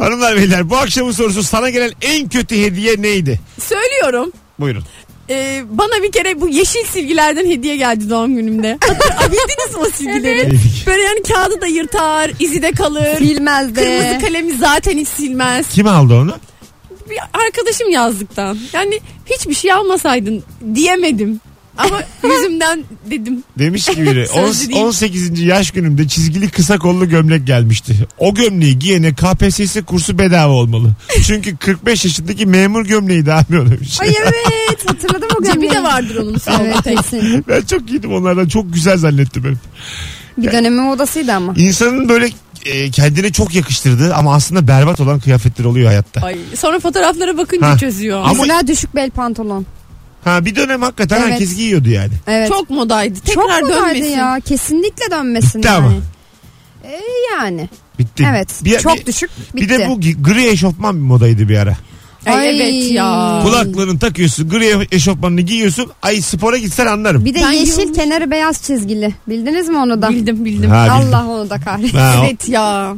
Speaker 2: Hanımlar beyler bu akşamın sorusu sana gelen en kötü hediye neydi?
Speaker 3: Söylüyorum.
Speaker 2: Buyurun.
Speaker 3: e, bana bir kere bu yeşil silgilerden hediye geldi doğum günümde. Aa, Bildiniz mi o silgileri?
Speaker 2: Evet.
Speaker 3: Böyle yani kağıdı da yırtar, izi de kalır.
Speaker 4: Bilmez de.
Speaker 3: Kırmızı kalemi zaten hiç silmez.
Speaker 2: Kim aldı onu?
Speaker 3: Bir arkadaşım yazdıktan. Yani hiçbir şey almasaydın diyemedim. Ama yüzümden dedim.
Speaker 2: Demiş ki biri
Speaker 3: Sözlü
Speaker 2: "On-
Speaker 3: değil."
Speaker 2: 18. yaş günümde çizgili kısa kollu gömlek gelmişti. O gömleği giyene KPSS kursu bedava olmalı. Çünkü 45 yaşındaki memur gömleği daha mı demiş.
Speaker 4: Ay evet hatırladım o
Speaker 3: Cebi
Speaker 4: gömleği.
Speaker 3: de vardır onun
Speaker 4: Evet
Speaker 3: solda.
Speaker 4: kesin.
Speaker 2: Ben çok giydim onlardan çok güzel zannettim hep.
Speaker 4: Bir dönemin odasıydı ama.
Speaker 2: İnsanın böyle e, kendine çok yakıştırdığı ama aslında berbat olan kıyafetler oluyor hayatta.
Speaker 3: Ay, sonra fotoğraflara bakınca
Speaker 2: Ha.
Speaker 3: çözüyor.
Speaker 2: Ama-
Speaker 4: Mesela düşük bel pantolon.
Speaker 2: Ha bir dönem hakikaten
Speaker 4: Evet.
Speaker 2: herkes giyiyordu yani.
Speaker 4: Evet.
Speaker 3: Çok modaydı.
Speaker 4: Çok
Speaker 3: Tekrar
Speaker 4: modaydı
Speaker 3: dönmesin.
Speaker 4: ya. Kesinlikle dönmesin
Speaker 2: Bitti
Speaker 4: yani.
Speaker 2: ama.
Speaker 4: Ee, yani.
Speaker 2: Bitti.
Speaker 4: Evet.
Speaker 2: Bir-
Speaker 4: çok
Speaker 2: bir-
Speaker 4: düşük bitti.
Speaker 2: Bir de bu gi- gri eşofman bir modaydı bir ara.
Speaker 3: Ay,
Speaker 4: Ay.
Speaker 3: E, evet ya.
Speaker 4: Ay.
Speaker 2: Kulaklığını takıyorsun, gri eşofmanını giyiyorsun. Ay spora gitsen anlarım.
Speaker 4: Bir de
Speaker 3: Ben
Speaker 4: yeşil
Speaker 3: yılmış-
Speaker 4: kenarı beyaz çizgili. Bildiniz mi onu da?
Speaker 3: Bildim bildim.
Speaker 2: Ha, bildim.
Speaker 4: Allah onu da kahretsin.
Speaker 2: Ha, o-
Speaker 3: Evet ya.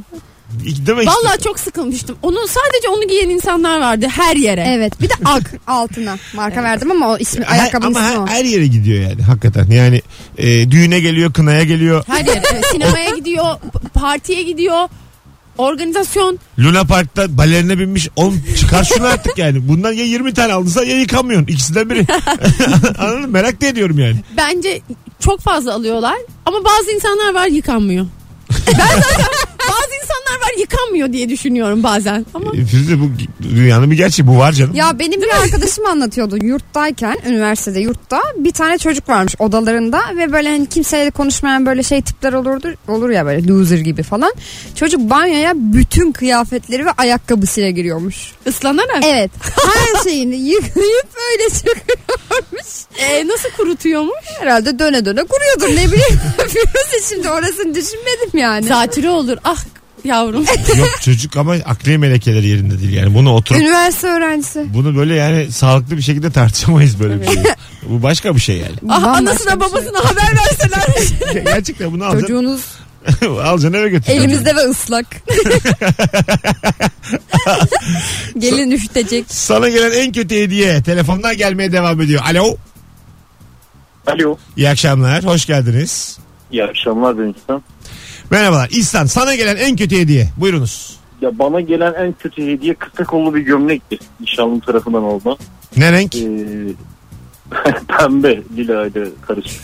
Speaker 2: Değil mi? işte?
Speaker 3: Vallahi çok sıkılmıştım. Onu sadece onu giyen insanlar vardı her yere.
Speaker 4: Evet bir de ak altına marka verdim ama o ismi
Speaker 2: Her-
Speaker 4: ayakkabının
Speaker 2: ama
Speaker 4: ismi
Speaker 2: her,
Speaker 4: o.
Speaker 2: her yere gidiyor yani hakikaten. Yani e, düğüne geliyor, kınaya geliyor,
Speaker 3: Her yere. Sinemaya gidiyor, p- partiye gidiyor. Organizasyon.
Speaker 2: Luna Park'ta balerine binmiş. Oğlum çıkar şunu artık yani. Bundan ya 20 tane aldıysa ya yıkamıyorsun. İkisinden biri. Anladın mı? Merak da ediyorum yani.
Speaker 3: Bence çok fazla alıyorlar. Ama bazı insanlar var yıkanmıyor. ben zaten bazı insanlar var yıkanmıyor diye düşünüyorum bazen. Ama
Speaker 2: E, Firuze bu dünyanın bir gerçeği. Bu var canım.
Speaker 4: Ya benim bir arkadaşım anlatıyordu yurttayken üniversitede yurtta bir tane çocuk varmış odalarında ve böyle hani kimseyle konuşmayan böyle şey tipler olurdu olur ya böyle loser gibi falan. Çocuk banyoya bütün kıyafetleri ve ayakkabısıyla giriyormuş.
Speaker 3: ıslanarak.
Speaker 4: Evet her şeyini yıkayıp öyle çıkıyormuş.
Speaker 3: Ee, nasıl kurutuyormuş?
Speaker 4: Herhalde döne döne kuruyordur ne bileyim. Firuze şimdi orasını düşünmedim yani.
Speaker 3: Zatürre olur. Ah yavrum.
Speaker 2: Yok çocuk ama akli melekeleri yerinde değil yani. Bunu oturup
Speaker 4: Üniversite öğrencisi.
Speaker 2: bunu böyle yani sağlıklı bir şekilde tartışamayız böyle bir şey. Bu başka bir şey yani.
Speaker 3: Ah,
Speaker 4: Bambaşka
Speaker 3: anasına
Speaker 4: bir şey.
Speaker 3: babasına haber verseler.
Speaker 2: Gerçekten bunu alacaksın,
Speaker 4: Çocuğunuz
Speaker 2: alacaksın eve götüreceksin.
Speaker 4: elimizde ve ıslak. Gelin üşütecek.
Speaker 2: Sana gelen en kötü hediye telefonlar gelmeye devam ediyor. Alo.
Speaker 8: Alo.
Speaker 2: İyi akşamlar. Hoş geldiniz.
Speaker 8: İyi akşamlar ben İhsan.
Speaker 2: Merhabalar. İhsan sana gelen en kötü hediye. Buyurunuz.
Speaker 8: Ya bana gelen en kötü hediye kısa kollu bir gömlekti. Nişanlım tarafından olma.
Speaker 2: Ne renk?
Speaker 8: Ee, pembe lila ile karışık.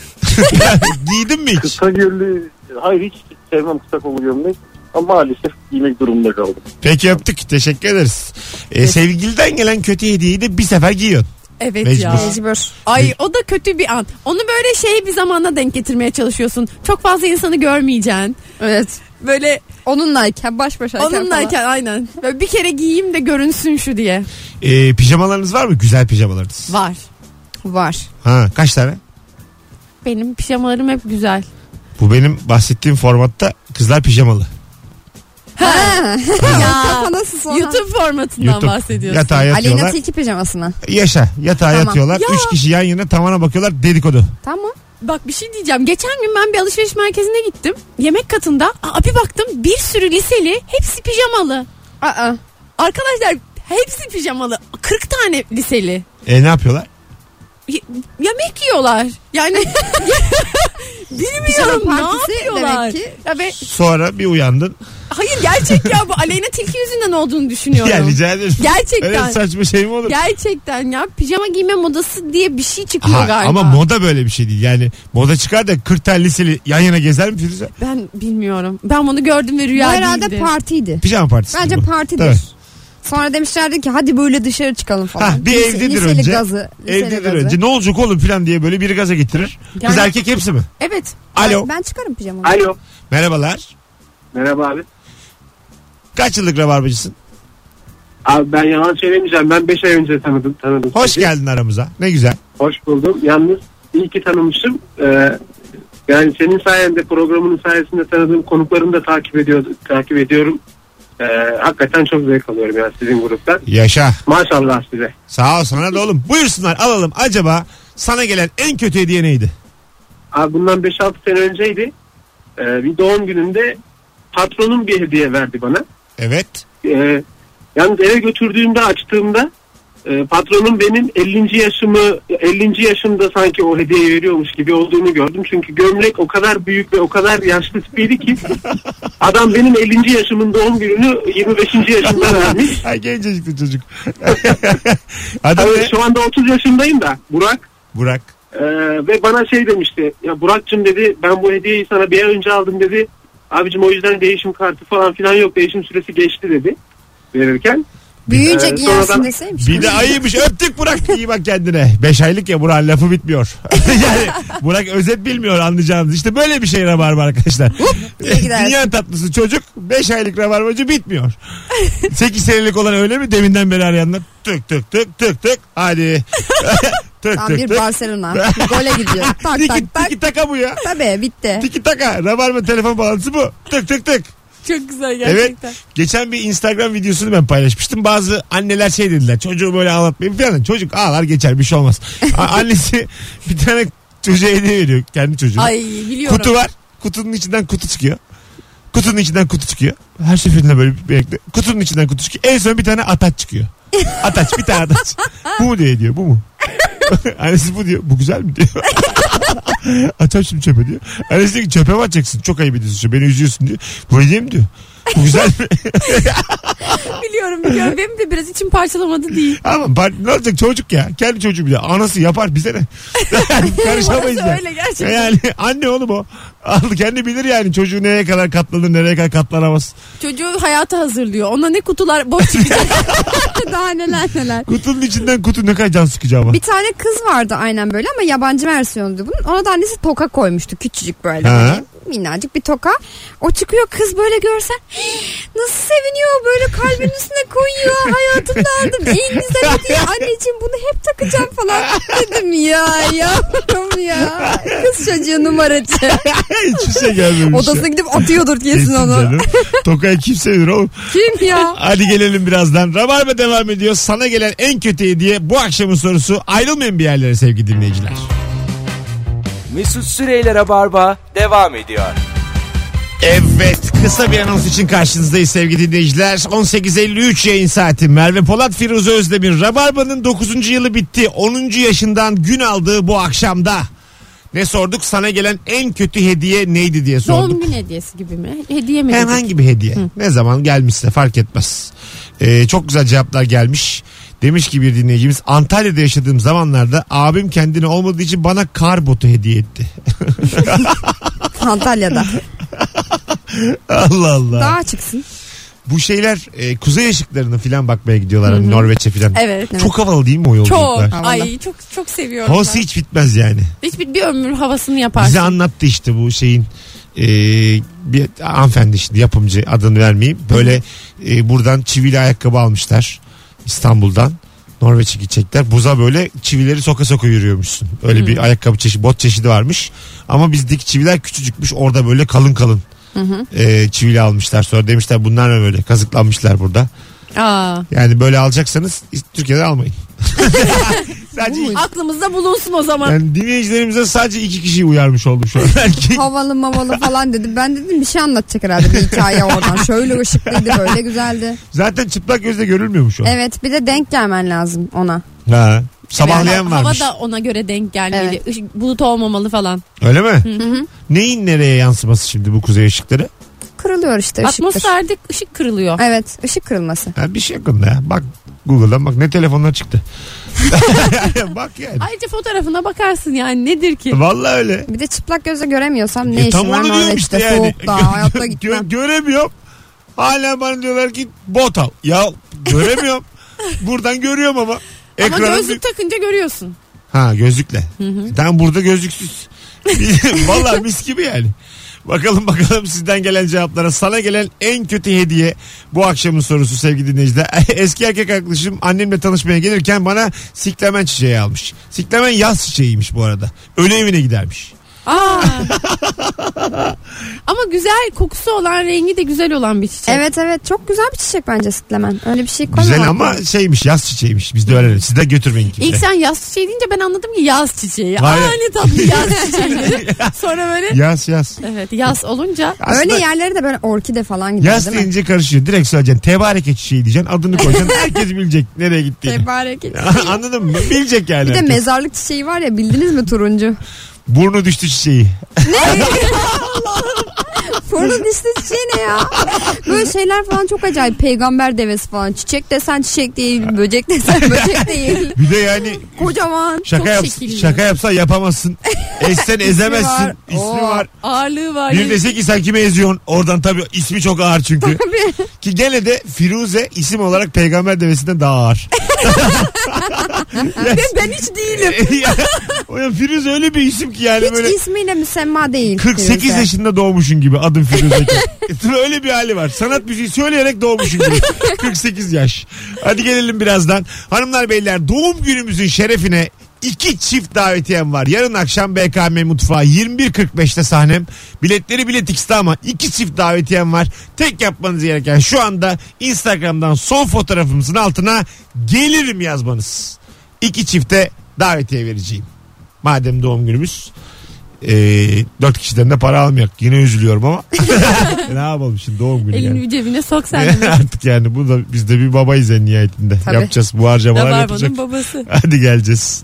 Speaker 2: Giydin mi hiç?
Speaker 8: Kısa gömlü hayır hiç sevmem kısa kollu gömlek. Ama maalesef giymek durumunda kaldım.
Speaker 2: Peki yaptık. Teşekkür ederiz. Ee, sevgiliden gelen kötü hediyeyi de bir sefer giyiyorsun.
Speaker 3: evet ya.
Speaker 2: Mecbur.
Speaker 4: Mecbur.
Speaker 3: Ay o da kötü bir an. Onu böyle şey bir zamana denk getirmeye çalışıyorsun. Çok fazla insanı görmeyeceksin.
Speaker 4: Evet.
Speaker 3: Böyle
Speaker 4: Onunlayken baş başayken falan.
Speaker 3: onunlayken aynen. Böyle bir kere giyeyim de görünsün şu diye.
Speaker 2: Ee, pijamalarınız var mı? Güzel pijamalarınız.
Speaker 3: Var.
Speaker 4: Var.
Speaker 2: Ha, kaç tane?
Speaker 3: Benim pijamalarım hep güzel.
Speaker 2: Bu benim bahsettiğim formatta kızlar pijamalı.
Speaker 4: Ha.
Speaker 3: Ya.
Speaker 4: Nasıl sonra?
Speaker 3: YouTube formatından
Speaker 2: YouTube.
Speaker 3: bahsediyorsun.
Speaker 2: Yatağa yatıyorlar.
Speaker 4: Aleyna Tilki pijamasına.
Speaker 2: Yaşa. Yatağa
Speaker 4: Tamam.
Speaker 2: yatıyorlar.
Speaker 3: Ya.
Speaker 2: Üç kişi yan yana tavana bakıyorlar. Dedikodu.
Speaker 4: Tamam.
Speaker 3: Bak bir şey diyeceğim. Geçen gün ben bir alışveriş merkezine gittim. Yemek katında. Aa, bir baktım bir sürü liseli hepsi pijamalı.
Speaker 4: Aa.
Speaker 3: Arkadaşlar hepsi pijamalı. 40 tane liseli.
Speaker 2: E ne yapıyorlar?
Speaker 3: Y- yemek yiyorlar. Yani bilmiyorum
Speaker 4: Pijama
Speaker 3: ne
Speaker 4: partisi
Speaker 3: yapıyorlar.
Speaker 4: demek ki.
Speaker 3: Ya be,
Speaker 2: Sonra bir uyandın.
Speaker 3: hayır gerçek ya bu Aleyna Tilki yüzünden olduğunu düşünüyorum.
Speaker 2: Ya rica ederim.
Speaker 3: Gerçekten.
Speaker 2: Öyle saçma şey mi olur?
Speaker 3: Gerçekten ya pijama giyme modası diye bir şey çıkıyor
Speaker 2: Ha,
Speaker 3: galiba.
Speaker 2: ama moda böyle bir şey değil. Yani moda çıkar da 40 tane liseli yan yana gezer mi Firuze?
Speaker 3: ben bilmiyorum. Ben bunu gördüm ve
Speaker 4: Bu
Speaker 3: rüya
Speaker 4: herhalde
Speaker 3: değildi.
Speaker 4: partiydi.
Speaker 2: Pijama partisi.
Speaker 4: Bence
Speaker 2: bu.
Speaker 4: partidir.
Speaker 2: Tabii.
Speaker 4: Sonra demişlerdi ki hadi böyle dışarı çıkalım falan.
Speaker 2: Ha, bir
Speaker 4: Lise-
Speaker 2: evdedir
Speaker 4: liseli
Speaker 2: önce.
Speaker 4: Gazı, liseli
Speaker 2: Evdedir
Speaker 4: gazı.
Speaker 2: önce. Ne olacak oğlum falan diye böyle biri gaza getirir. Kız
Speaker 3: Yani-
Speaker 2: erkek hepsi mi?
Speaker 3: evet.
Speaker 2: Alo.
Speaker 4: Ben, ben çıkarım pijamamı.
Speaker 10: Alo.
Speaker 2: Merhabalar.
Speaker 10: Merhaba abi.
Speaker 2: Kaç yıllık rabarbacısın?
Speaker 10: Abi ben yalan söylemeyeceğim. Ben 5 ay önce tanıdım. tanıdım
Speaker 2: Hoş
Speaker 10: sizi.
Speaker 2: geldin aramıza. Ne güzel.
Speaker 10: Hoş buldum. Yalnız iyi ki tanımışım. Ee, yani senin sayende programının sayesinde tanıdığım konuklarımı da takip ediyor, takip ediyorum. Ee, hakikaten çok zevk alıyorum yani sizin gruptan.
Speaker 2: Yaşa.
Speaker 10: Maşallah size.
Speaker 2: Sağ ol sana da oğlum. Buyursunlar alalım. Acaba sana gelen en kötü hediye neydi?
Speaker 10: Abi bundan 5-6 sene önceydi. Ee, bir doğum gününde patronum bir hediye verdi bana.
Speaker 2: Evet.
Speaker 10: Ee, yalnız eve götürdüğümde açtığımda e, patronum benim 50. yaşımı 50. yaşımda sanki o hediye veriyormuş gibi olduğunu gördüm. Çünkü gömlek o kadar büyük ve o kadar yaşlı tipiydi ki adam benim 50. yaşımın doğum gününü 25. yaşımda vermiş.
Speaker 2: Ay gencecikti çocuk. Adam
Speaker 10: Tabii
Speaker 2: ne?
Speaker 10: şu anda 30 yaşındayım da Burak.
Speaker 2: Burak.
Speaker 10: Ee, ve bana şey demişti. Ya Burak'cığım dedi ben bu hediyeyi sana bir ay önce aldım dedi. Abicim o yüzden değişim kartı falan filan yok. Değişim süresi geçti dedi verirken.
Speaker 4: Büyüyünce
Speaker 10: Ee,
Speaker 4: giyersin
Speaker 10: sonradan-
Speaker 4: deseymiş.
Speaker 2: Bir de ayıymış öptük Burak iyi bak kendine. Beş aylık ya Burak lafı bitmiyor. yani Burak özet bilmiyor anlayacağınız. İşte böyle bir şey rabarba arkadaşlar.
Speaker 4: diye gidersin.
Speaker 2: Dünya tatlısı çocuk beş aylık rabarbacı bitmiyor. Sekiz senelik olan öyle mi deminden beri arayanlar tık tık tık tık tık hadi. tık
Speaker 4: Tam
Speaker 2: tık
Speaker 4: bir
Speaker 2: tık.
Speaker 4: Barcelona. Gole gidiyor. Tak
Speaker 2: Tiki,
Speaker 4: tak tak.
Speaker 2: tiki taka bu ya.
Speaker 4: Tabii bitti.
Speaker 2: Tiki taka rabarba telefon bağlantısı bu. Tık tık tık.
Speaker 3: Çok güzel
Speaker 2: Evet.
Speaker 3: gerçekten.
Speaker 2: Geçen bir Instagram videosunu ben paylaşmıştım. Bazı anneler şey dediler. Çocuğu böyle ağlatmayın falan. Çocuk ağlar geçer bir şey olmaz. A- Annesi bir tane çocuğa hediye veriyor. Kendi çocuğuna.
Speaker 3: Ay biliyorum.
Speaker 2: Kutu var. Kutunun içinden kutu çıkıyor. Kutunun içinden kutu çıkıyor. Her seferinde böyle bir bekle. Kutunun içinden kutu çıkıyor. En son bir tane ataç çıkıyor. Ataç bir tane ataç. Bu mu diye hediye bu mu? Annesi bu diyor. Bu güzel mi diyor. Atar şimdi çöpe diyor. Annesi diyor ki çöpe mi atacaksın? Çok ayıp ediyorsun. şu an, Beni üzüyorsun diyor. Bu hediye mi diyor. Bu güzel mi?
Speaker 3: Biliyorum biliyorum. Benim de biraz içim parçalamadı değil.
Speaker 2: Ama bak ne olacak çocuk ya. Kendi çocuğu bile. Anası yapar bize ne? Yani Karışamayız
Speaker 3: Orası
Speaker 2: ya.
Speaker 3: öyle gerçekten.
Speaker 2: Yani anne oğlum o. Aldı kendi bilir yani çocuğu nereye kadar katlanır nereye kadar katlanamaz.
Speaker 3: Çocuğu hayata hazırlıyor. Ona ne kutular boş çıkacak.
Speaker 4: Daha neler neler.
Speaker 2: Kutunun içinden kutu ne kadar can sıkıcı ama.
Speaker 4: Bir tane kız vardı aynen böyle ama yabancı versiyondu bunun. Ona da annesi toka koymuştu küçücük böyle.
Speaker 2: Ha.
Speaker 4: Hani minnacık bir toka. O çıkıyor kız böyle görsen nasıl seviniyor böyle kalbinin üstüne koyuyor hayatımda aldım en güzel hediye anneciğim bunu hep takacağım falan dedim ya yavrum ya kız çocuğu numaracı
Speaker 2: Hiçbir şey gelmemiş.
Speaker 4: odasına gidip atıyordur kesin
Speaker 2: Kesin
Speaker 4: onu
Speaker 2: canım. Tokayı kim seviyor oğlum?
Speaker 4: kim ya
Speaker 2: Hadi gelelim birazdan. Rabarba devam ediyor. Sana gelen en kötü hediye bu akşamın sorusu. Ayrılmayın bir yerlere sevgili dinleyiciler.
Speaker 1: Mesut Süreyler'e barba devam ediyor.
Speaker 2: Evet kısa bir anons için karşınızdayız sevgili dinleyiciler. 18.53 yayın saati Merve Polat Firuze Özdemir. Rabarba'nın 9. yılı bitti. 10. yaşından gün aldığı bu akşamda. Ne sorduk? Sana gelen en kötü hediye neydi diye sorduk.
Speaker 3: Doğum gün hediyesi gibi mi? Hediye mi? dedik?
Speaker 2: Herhangi bir hediye. Ne zaman gelmişse fark etmez. Ee, çok güzel cevaplar gelmiş. Demiş ki bir dinleyicimiz Antalya'da yaşadığım zamanlarda abim kendine olmadığı için bana kar botu hediye etti.
Speaker 4: Antalya'da
Speaker 2: Allah Allah.
Speaker 4: daha çıksın
Speaker 2: Bu şeyler e, kuzey ışıklarını filan bakmaya gidiyorlar hani Norveç'e filan.
Speaker 3: Evet. evet.
Speaker 2: Çok havalı değil mi o
Speaker 3: Çok.
Speaker 2: yolculuklar?
Speaker 3: Ay çok çok seviyorum.
Speaker 2: Havası
Speaker 3: ben.
Speaker 2: hiç bitmez yani.
Speaker 3: Hiçbir bir ömür havasını yaparsın.
Speaker 2: Bize anlattı işte bu şeyin e, bir hanımefendi işte yapımcı adını vermeyeyim. Böyle e, buradan çivili ayakkabı almışlar İstanbul'dan. Norveç'e gidecekler. Buza böyle çivileri soka soka yürüyormuşsun. Öyle bir ayakkabı çeşidi, bot çeşidi varmış. Ama bizdeki çiviler küçücükmüş. Orada böyle kalın kalın e, çivili almışlar. Sonra demişler bunlar ne böyle kazıklanmışlar burada.
Speaker 3: Aa.
Speaker 2: Yani böyle alacaksanız Türkiye'den almayın. Sadece iki-
Speaker 3: Aklımızda bulunsun o zaman.
Speaker 2: yani dinleyicilerimize sadece iki kişiyi uyarmış oldum şu an. Erkek
Speaker 4: havalı mavalı falan dedi ben dedim bir şey anlatacak herhalde bir hikaye oradan şöyle ışıklıydı böyle güzeldi
Speaker 2: Zaten çıplak gözle görülmüyormuş o.
Speaker 4: evet bir de denk gelmen lazım ona
Speaker 2: Ha. Sabahlayan
Speaker 3: Hava-
Speaker 2: varmış.
Speaker 3: Hava da ona göre denk gelmeli. Işık- Bulut olmamalı falan.
Speaker 2: Öyle mi? Neyin nereye yansıması şimdi bu kuzey ışıkları?
Speaker 4: kırılıyor işte ışıktır.
Speaker 3: Atmosferde ışık kırılıyor.
Speaker 4: Evet ışık kırılması.
Speaker 2: Ha, bir şey yakında ya. Bak Google'dan bak ne telefonlar çıktı. bak yani.
Speaker 3: Ayrıca fotoğrafına bakarsın yani nedir ki?
Speaker 2: Vallahi öyle.
Speaker 4: Bir de çıplak gözle göremiyorsam ne
Speaker 2: E,
Speaker 4: işim var Norveç'te soğukta hayatta
Speaker 2: Gö-
Speaker 4: gitmem.
Speaker 2: göremiyorum. Hala bana diyorlar ki bot al. Ya göremiyorum. Buradan görüyorum ama.
Speaker 3: Ama
Speaker 2: Ekranın
Speaker 3: gözlük takınca görüyorsun.
Speaker 2: Ha gözlükle. Ben burada gözlüksüz. Valla mis gibi yani. Bakalım bakalım sizden gelen cevaplara. Sana gelen en kötü hediye bu akşamın sorusu sevgili dinleyiciler. Eski erkek arkadaşım annemle tanışmaya gelirken bana siklemen çiçeği almış. Siklemen yaz çiçeğiymiş bu arada. Ölü evine gidermiş.
Speaker 3: Aa. Ama güzel kokusu olan rengi de güzel olan bir çiçek.
Speaker 4: Evet evet çok güzel bir çiçek bence sütlemen. Öyle bir şey koyma.
Speaker 2: Güzel ama şeymiş yaz çiçeğiymiş. Biz de öyle. Siz de götürmeyin kimse.
Speaker 3: İlk sen yaz çiçeği deyince ben anladım ki yaz çiçeği.
Speaker 2: Vay.
Speaker 3: Aa ne tatlı yaz çiçeği. dedim. Sonra böyle
Speaker 2: Yaz yaz.
Speaker 3: evet yaz olunca
Speaker 4: Öyle
Speaker 2: Aslında-
Speaker 4: yerlere de böyle orkide falan gidiyor
Speaker 2: Yaz
Speaker 4: değil mi?
Speaker 2: deyince karışıyor. Direkt söyleyeceksin. Tebareke çiçeği diyeceksin. Adını koyacaksın. Herkes bilecek nereye gittiğini.
Speaker 4: Tebarek.
Speaker 2: Anladın mı? Bilecek yani.
Speaker 4: Bir de
Speaker 2: herkes.
Speaker 4: mezarlık çiçeği var ya bildiniz mi turuncu?
Speaker 2: Burnu düştü çiçeği.
Speaker 4: Fırın işte çiçeği ne ya? Böyle şeyler falan çok acayip. Peygamber devesi falan. Çiçek desen çiçek değil. Böcek desen böcek değil.
Speaker 2: Bir de yani
Speaker 4: Kocaman.
Speaker 2: şaka
Speaker 3: Çok
Speaker 2: yap
Speaker 3: şekilli.
Speaker 2: şaka yapsa yapamazsın. Essen ezemezsin.
Speaker 4: var.
Speaker 2: İsmi
Speaker 4: Oo.
Speaker 2: var.
Speaker 3: ağırlığı var.
Speaker 2: Bir dese ki sen kime eziyorsun? Oradan tabii ismi çok ağır çünkü. Ki gene de Firuze isim olarak peygamber devesinden daha ağır.
Speaker 4: Ve
Speaker 2: şey-
Speaker 4: ben hiç değilim.
Speaker 2: Ya, o ya Firuze öyle bir isim ki yani
Speaker 4: Hiç
Speaker 2: böyle
Speaker 4: ismiyle müsemma değil.
Speaker 2: 48
Speaker 4: Firuze.
Speaker 2: yaşında doğmuşun gibi adın Firuze. Tabii E, öyle bir hali var. Sanat müziği söyleyerek doğmuşun gibi. 48 yaş. Hadi gelelim birazdan. Hanımlar beyler doğum günümüzün şerefine iki çift davetiyem var. Yarın akşam BKM Mutfağı 21.45'te sahnem. Biletleri Bilet X'te ama iki çift davetiyem var. Tek yapmanız gereken şu anda Instagram'dan son fotoğrafımızın altına gelirim yazmanız. İki çifte davetiye vereceğim. Madem doğum günümüz e, dört kişiden de para almayak. Yine üzülüyorum ama. ne yapalım şimdi doğum günü
Speaker 3: Elini
Speaker 2: yani.
Speaker 3: bir cebine sok sen. de.
Speaker 2: Artık yani bu da biz de bir babayız en nihayetinde.
Speaker 4: Tabii.
Speaker 2: Yapacağız bu harcamalar yapacak.
Speaker 3: Rabarba'nın babası.
Speaker 2: Hadi geleceğiz.